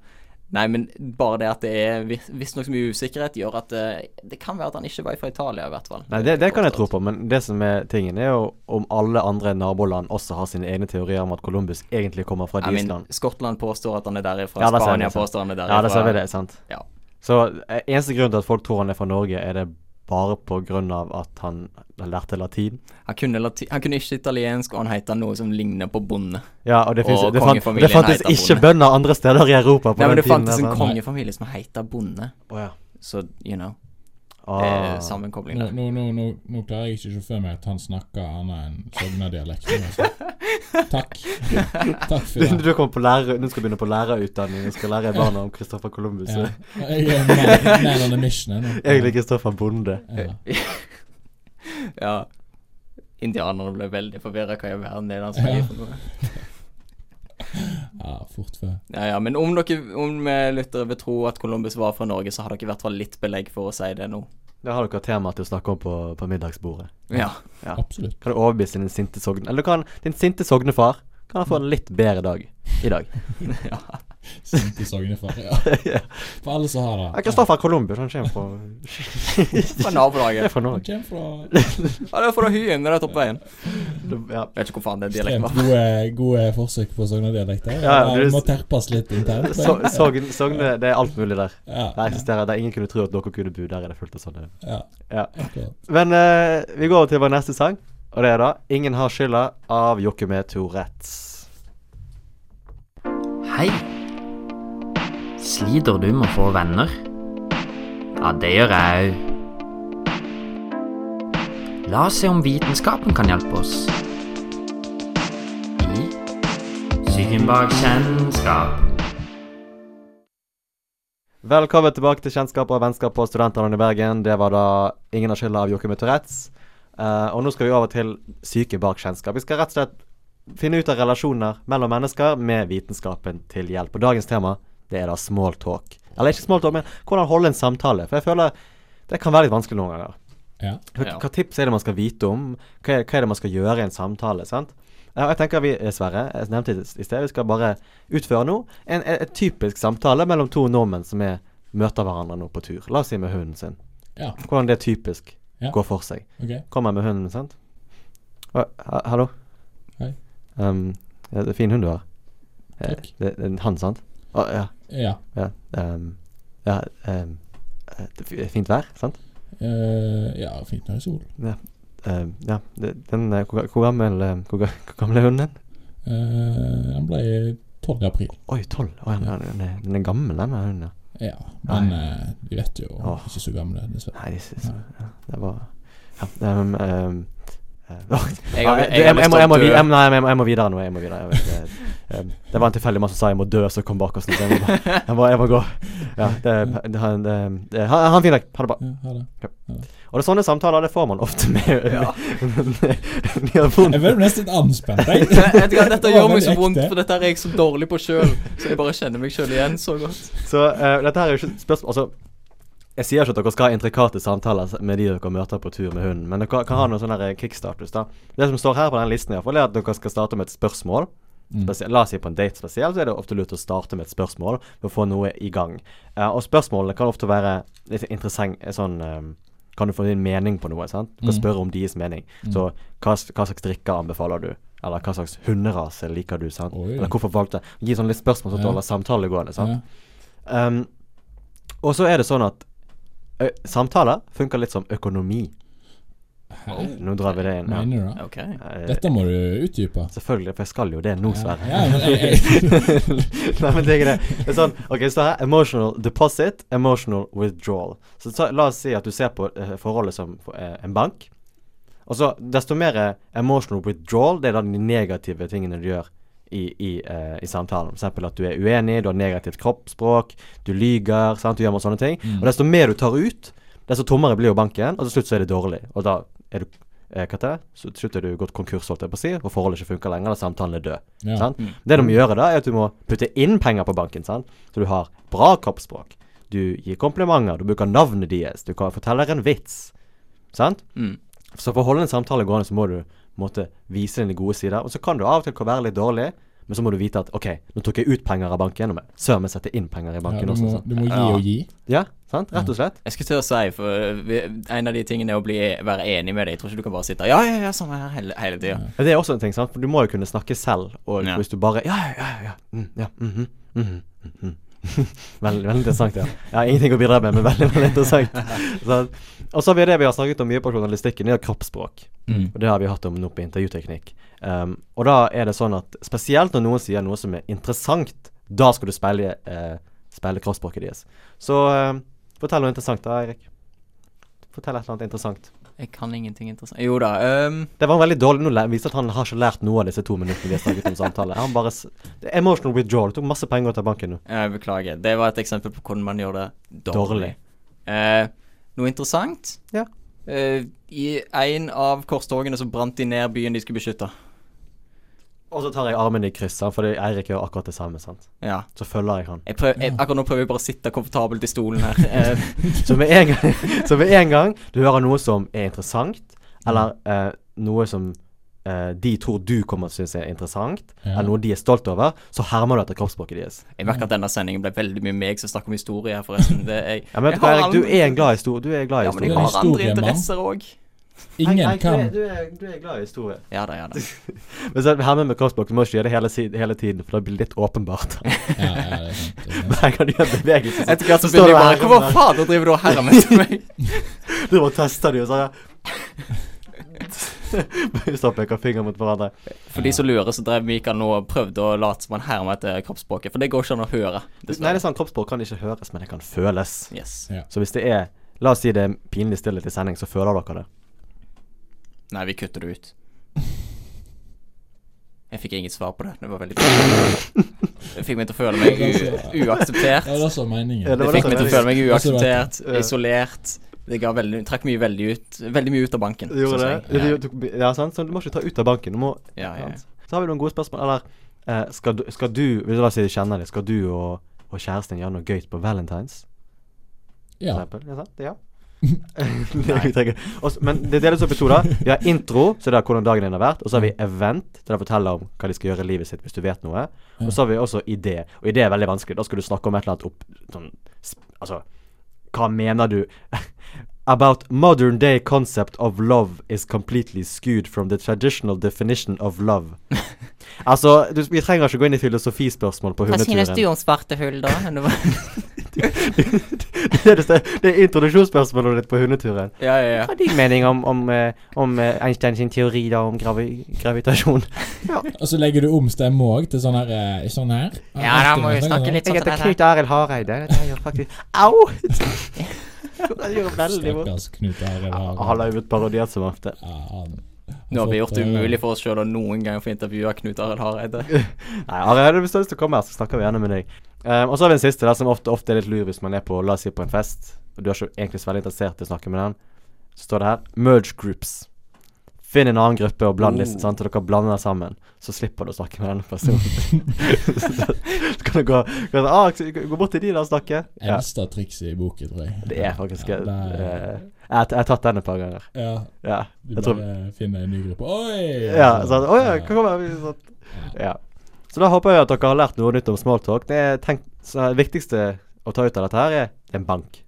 Nei, men bare det at det er vis- visstnok så mye usikkerhet, gjør at eh, det kan være at han ikke var fra Italia, i hvert fall.
Nei, det, det kan jeg tro på, men det som er tingen, er jo om alle andre naboland også har sine egne teorier om at Columbus egentlig kommer fra
I mean,
Island.
Skottland påstår at han er derifra.
Ja, da ser vi
Spania
det, sant.
påstår han er derifra.
Ja, det ser vi det, sant.
Ja.
Så eh, eneste grunn til at folk tror han er fra Norge, er det bare på grunn av at han lærte latin.
Han kunne, lati han kunne ikke italiensk, og han heter noe som ligner på bonde.
Ja, og det, finnes,
Og
det, fant,
kongefamilien
det fantes
heter
ikke
bonde.
bønder andre steder i Europa på
Nei,
den
men det
tiden.
fantes en
altså.
kongefamilie som heter bonde,
Å, ja.
så you know. Det
Ah. (laughs)
er sammenkobling
Nå,
der.
nå, nå, nå, nå klarer jeg ikke å se for meg at han snakker annet enn Sogna-dialekten.
(laughs)
Altså. Takk. Takk for
Du,
det.
du kommer på lærer, nå skal du begynne på lærerutdanning og skal lære barna om Kristoffer Columbus. (laughs)
Ja. Jeg er man, man on a mission. jeg, nå.
Egentlig Kristoffer Bonde.
Ja.
Ja. Indianerne ble veldig forvirra hva i all verden det er han
Ja.
snakker for noe.
ja, fort før.
Ja, ja, men om dere om eh, lyttere vil tro at Columbus var fra Norge, så har dere i hvert fall litt belegg for å si det nå.
Da har dere tema til å snakke om på, på middagsbordet.
Ja.
Ja.
Absolutt.
Kan du overbevise din sinte sogne Eller du kan din sinte sognefar kan han få en litt bedre dag (laughs) i
(laughs)
dag.
ja.
Sint i Sognefar. Ja. For alle som har
Ja,
det.
Kristoffer Columbus, han kommer fra
Fra
Det er
nabolaget.
(laughs) fra
Han
Norge.
kommer fra
Ja, det er fra Hyen, det er rett opp veien.
Ja.
Vet ikke hvor faen den dialekten
ekstremt
var.
gode, gode forsøk på Sogna-dialekter.
Ja, du-
Det må terpes litt internt.
So,
men-
sogne, sogne, det er alt mulig der.
Ja,
Det eksisterer der ingen kunne tro at dere kunne bo. Der er det fullt av sånne
ja,
Ja.
akkurat.
Men eh, vi går over til vår neste sang, og det er da 'Ingen har skylda' av Jokke med Tourettes.
Hei. Sliter du med å få venner? Ja, det gjør jeg òg. La oss se om vitenskapen kan hjelpe oss. I Psyken bak kjennskap.
Velkommen tilbake til Kjennskap og vennskap på Studentene i Bergen. Det var da 'Ingen har skylda' av Jokke med Tourettes. Eh, og nå skal vi over til syke bak kjennskap. Vi skal rett og slett finne ut av relasjoner mellom mennesker med vitenskapen til hjelp. Og dagens tema, det er da small talk. Eller ikke small talk, men hvordan holde en samtale. For jeg føler det kan være litt vanskelig noen ganger.
Ja.
Hva,
Ja.
hva tips er det man skal vite om? Hva er, hva er det man skal gjøre i en samtale? sant? Ja, og Jeg tenker vi, eh, Sverre, jeg nevnte det i sted, vi skal bare utføre nå en, en, en typisk samtale mellom to nordmenn som er, møter hverandre nå på tur. La oss si med hunden sin.
ja,
Hvordan det typisk
Ja.
går for seg.
ok.
Kommer med hunden, sant? Å, ha, hallo.
Hei.
Um, ja, det er fin hund du har. Eh,
Takk.
Det, det er en hann, sant? Å, ja.
Ja.
ja, um, ja um, eh, det er fi- fint vær, sant?
eh, ja, fint når det er sol.
Eh, ja, det- den, eh, hvor, ga- hvor, gammel, eh, hvor, ga- hvor gammel er hunden din?
Eh, han ble 12. april.
Oi, tolv. Oi, den, er- den, er- den er gammel, den her hunden. ja.
Ja, men eh, de vet jo
Åh.
ikke så gamle, dessverre.
Nei, de synes ja, Det var ja, um, um, eh,
Jeg
ja,
har-
jeg-
jeg har
jeg- jeg må- jeg må vi-
lyst til å dø.
jeg- nei, jeg må- jeg må videre nå. Jeg må videre. Jeg vet, eh, um, det var en tilfeldig mann som sa 'jeg må dø', så kom bak oss. nå, så Jeg må, bare- jeg må, jeg må gå. Ja, det, det, han, det, det, ha ha en fin dag. Ha det bra.
Ja, ha det.
Og det er sånne samtaler det får man ofte med
Ja.
med- med hunden.
Jeg ble nesten litt anspent,
(laughs)
(laughs)
jeg.
Jeg vet ikke, Dette
Å,
gjør meg
men
så
ekte.
vondt, for dette er jeg så dårlig på sjøl. Så jeg bare kjenner meg sjøl igjen så godt.
Så eh, dette her er jo ikke et spørsmål Altså, jeg sier ikke at dere skal ha intrikate samtaler s- med de dere møter på tur med hunden, men dere kan ha noen sånn her kickstatus, da. Det som står her på den listen, i hvert fall, er at dere skal starte med et spørsmål.
Mm.
Spesielt, la oss si på en date spesielt, så er det ofte lurt å starte med et spørsmål for å få noe i gang. Eh, og spørsmålene kan ofte være litt interessant eh, sånn eh, Kan du få din mening på noe? sant? Du kan
Mm.
spørre om deres mening. Så hva, s- hva slags drikker anbefaler du? Eller hva slags hunderase liker du? sant?
Oi.
Eller hvorfor valgte Gi sånn litt spørsmål som
Ja.
holder samtalen gående. sant?
Ja.
Um, og så er det sånn at ø, samtaler funker litt som økonomi.
Hæ?
Nå drar vi det inn. Ja.
Oh. Mener du det?
Ok.
Eh,
Dette må du utdype.
Selvfølgelig, for jeg skal jo det nå,
Ja,
Sverre.
ja, men jeg, jeg,
(laughs) Nei, men det er ikke det. Det er sånn, ok, så her, Emotional deposit, emotional withdrawal. Så ta, La oss si at du ser på eh, forholdet som eh, en bank. Og så, Desto mer eh, emotional withdrawal, det er da de negative tingene du gjør i, i, eh, i samtalen. F.eks. at du er uenig, du har negativt kroppsspråk, du lyger, sant? du gjør masse sånne ting. Og desto mer du tar ut, desto tommere blir jo banken, og til slutt så er det dårlig. Og da er du eh, hva heter det? Så til slutt er du gått konkurs, holdt jeg på å si, og forholdet ikke funker lenger, og samtalen er død.
ja.
Sant? Det du må gjøre da, er at du må putte inn penger på banken, sant? så du har bra kroppsspråk. Du gir komplimenter, du bruker navnet deres, du kan forteller en vits. Sant?
Mm.
Så for å holde en samtale gående, så må du på en måte, vise dine gode sider. Og så kan du av og til være litt dårlig, Men så må du vite at OK, nå tok jeg ut penger av banken, men søren meg sette inn penger i
Ja,
banken
du,
også.
må,
Sant?
du må gi og gi.
Ja, sant? Rett og slett.
Jeg skulle til å si, for eh, vi- en av de tingene er å bli, være enig med deg. Jeg tror ikke du kan bare sitte Ja, ja, sånn ja, samme her hele, hele tida.
Ja, Det er også en ting, sant? for du må jo kunne snakke selv, og
Ja.
hvis du bare Ja, ja, ja. ja, mm, ja mhm, mhm, mhm. (laughs) veldig, veldig interessant, ja. Jeg har ingenting å bidra med, men veldig veldig interessant. (laughs) Så, og så har vi det vi har snakket om mye på journalistikken, det er kroppsspråk. Og det har vi hatt om nå på intervjuteknikk. Um, og da er det sånn at spesielt når noen sier noe som er interessant, da skal du speile, eh, speile kroppsspråket deres. Så eh, fortell noe interessant da, Eirik. Fortell et eller annet interessant.
Jeg kan ingenting interessant Jo da. ehm,
Det var en veldig dårlig Nå le- viser det at han har ikke lært noe av disse to minuttene vi har snakket om samtale. Han bare s- Det er emotional withdrawal. Det tok masse penger ut av banken nå.
jeg Eh, beklager. Det var et eksempel på hvordan man gjør det dårlig.
Dårlig.
Eh, noe interessant?
Ja.
Eh, I en av korstogene så brant de ned byen de skulle beskytte.
Og så tar jeg armen i kryss, sant, fordi Eirik gjør akkurat det samme. sant?
Ja.
Så følger jeg han.
Jeg prøv, jeg, akkurat nå prøver jeg bare å sitte komfortabelt i stolen
(laughs)
her. Eh,
Så med en gang, (laughs) så med en gang du hører noe som er interessant, eller eh, noe som eh, de tror du kommer til å synes er interessant,
Ja.
eller noe de er stolt over, så hermer du etter kroppsspråket deres.
jeg merker at denne sendingen ble veldig mye meg som snakker om historie her, forresten. Det, jeg,
Ja, men vet
jeg
du hva,
har
Eirik, du
andre-
er en glad i historie. Du er glad i
Ja, men
historie.
er
jeg har andre
historiemann.
interesser òg.
Nei, nei,
Ingen
du
kan
er- du er- Du er glad i historie.
Ja da, ja
(laughs)
da.
Men så hermer med kroppsspråk, du må ikke gjøre det hele, si- hele tiden, for da blir det litt (laughs) åpenbart.
ja, ja, det er sant. det er sant.
Hver gang du gjør bevegelse, så
Etter hvert så
Står
begynner jeg
det
bare
her- sånn
Hvorfor fader driver du og
(laughs)
hermer etter meg?
Du bare tester de og (laughs) sånn ja. Så peker fingeren mot hverandre.
For de som lurer, så drev Mikael nå og prøvde å late som han hermer etter kroppsspråket, for det går ikke an å høre.
Nei, det er sånn, kroppsspråk kan ikke høres, men det kan føles.
Yes.
Ja.
Så hvis det er La oss si det er pinlig stillhet i sending, så føler dere det.
Nei, vi kutter det ut. Jeg fikk inget svar på det. Det var veldig Det fikk meg til å føle meg u
Ja,
uakseptert.
det er også meningen.
Ja,
Det
var
fikk
det
meg
som
til å føle meg
var-
uakseptert, isolert. Det ga veldig, trakk mye veldig ut Veldig mye ut av banken.
Du gjorde
synes
det?
jeg.
Du, tok- ja, sant? Så du må ikke ta ut av banken. Du må
Ja, ja, ja.
sant? Så har vi noen gode spørsmål. Eller eh, skal, du, skal du Vil du la oss si de kjenner det. Skal du og, og kjæresten gjøre noe gøy på valentines?
Ja.
For eksempel? Ja, sant? (laughs) ja. det er vi trenger. Og så- men det deles opp i to. da Vi har intro, så det er hvordan dagen din har vært. Og så har vi event, der de forteller om hva de skal gjøre i livet sitt hvis du vet noe. Og så har vi også idé. Og idé er veldig vanskelig. Da skal du snakke om et eller annet opp sånn, sp- Altså, hva mener du? (laughs) About modern day concept of love is completely skewed from the traditional definition of (laughs) love. altså, du, vi trenger ikke gå inn i filosofispørsmål på hundeturen.
om svarte hull, da?
(laughs) det, er det, ste- det er introduksjonsspørsmålet ditt på hundeturen.
ja, ja, ja.
Hva er din mening om, om, eh, om eh, Einstein sin teori da om gravi (laughs) gravitasjon?
Og så legger du om stemme òg til sånn her. eh, Sånn her.
Ja, da må vi snakke litt
Jeg
sånn
heter
som
Knut Arild Hareide. Dette her gjør faktisk Au! (laughs) Det gjør veldig vondt.
Stakkars Knut Arild
Han har jo blitt parodiert som ofte.
Nå har vi gjort det umulig for oss sjøl å noen gang få intervjue Knut Arild Hareide.
(laughs) Nei, Arild, hvis du har lyst til å komme her, så snakker vi gjerne med deg. Ehm, og så har vi en siste, da, som ofte, ofte er litt lur hvis man er på la oss si på en fest, og du er ikke egentlig så veldig interessert i å snakke med den. Så står det her merge groups. Finn en annen gruppe og bland
Oh.
listen, sant, og dere blander dere sammen. Så slipper du å snakke med denne personen. (laughs) så kan du gå, gå, ah, gå bort til de der og snakke. Ja,
Eldste trikset i boken, tror jeg.
det er faktisk
ja,
eh,
det er-
jeg, har- jeg har tatt den et par ganger.
Ja.
Ja,
Du
jeg tror
bare finner en ny gruppe. Oi!
Ja, sånn, «Å ja, hva kommer vi?» sånn. Ja. Så da håper jeg at dere har lært noe nytt om smalltalk. Det, er tenk, så det viktigste å ta ut av dette her er det er en bank.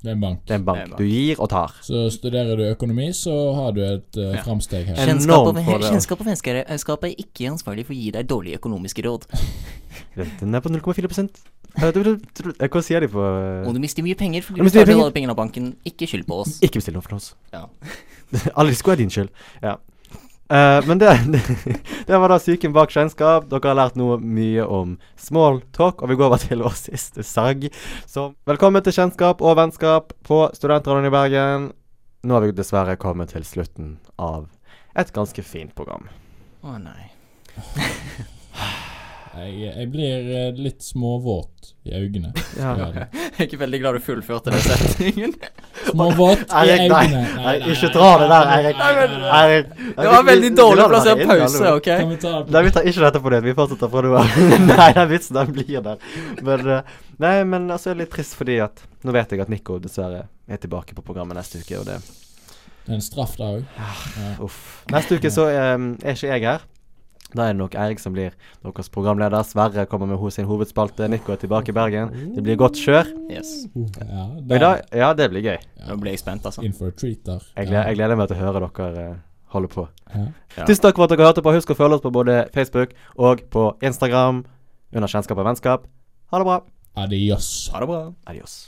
Det er en bank.
Det er en
Det er en
bank.
bank.
Du gir og tar.
Så studerer du økonomi, så har du et uh,
Ja.
framsteg her.
Enorm fordel.
og vennskap er ikke ansvarlig for å gi deg dårlige økonomiske råd.
Renten er på 0,4 Eh, du- du- du- eh, Hva sier de på eh,
du mister mye penger fordi
Du mister mye betaler penger. alle
pengene av banken. Ikke skyld på oss.
Ikke bestill noe fra oss.
Ja.
(laughs) Alle risiko er din skyld. Ja. Eh, men det, (laughs) det var da Psyken bak kjennskap. Dere har lært noe mye om small talk, og vi går over til vår siste sag. Så velkommen til kjennskap og vennskap på Studentradioen i Bergen. Nå har vi dessverre kommet til slutten av et ganske fint program.
Å nei.
Jeg, jeg blir eh, litt småvåt i øynene.
Ja.
Ja, det.
Jeg er ikke veldig glad du fullførte den setningen.
Småvåt i
Eirik,
øynene.
(laughs) nei. Nei, ikke dra det der, Eirik.
Nei, nei, nei.
Eirik.
Det var veldig dårlig
Vi lar det
plassert
være inn, vi
pause,
lar det være.
OK?
Kan vi ta det
Nei, vi tar ikke dette på nytt. Vi fortsetter fra nå av. (laughs) nei, den vitsen den blir der. Men, eh, nei, men altså, det er litt trist fordi at nå vet jeg at Nico dessverre er tilbake på programmet neste uke, og det
Det er en straff, da òg.
Uff. Neste uke så eh, er ikke jeg her. Da er det nok Eirik som blir deres programleder. Sverre kommer med ho- sin hovedspalte. Nico er tilbake i Bergen. Det blir godt kjør.
Yes.
Ja,
Og i dag Ja, det blir gøy.
Nå ble jeg spent, altså.
In for a treat der.
Jeg gleder, jeg gleder meg til å høre dere eh, holde på.
Ja.
Ja.
Tusen takk for at dere hørte på. Husk å følge oss på både Facebook og på Instagram under Kjennskap og vennskap. Ha det bra.
Adios.
Ha det bra.
Adios.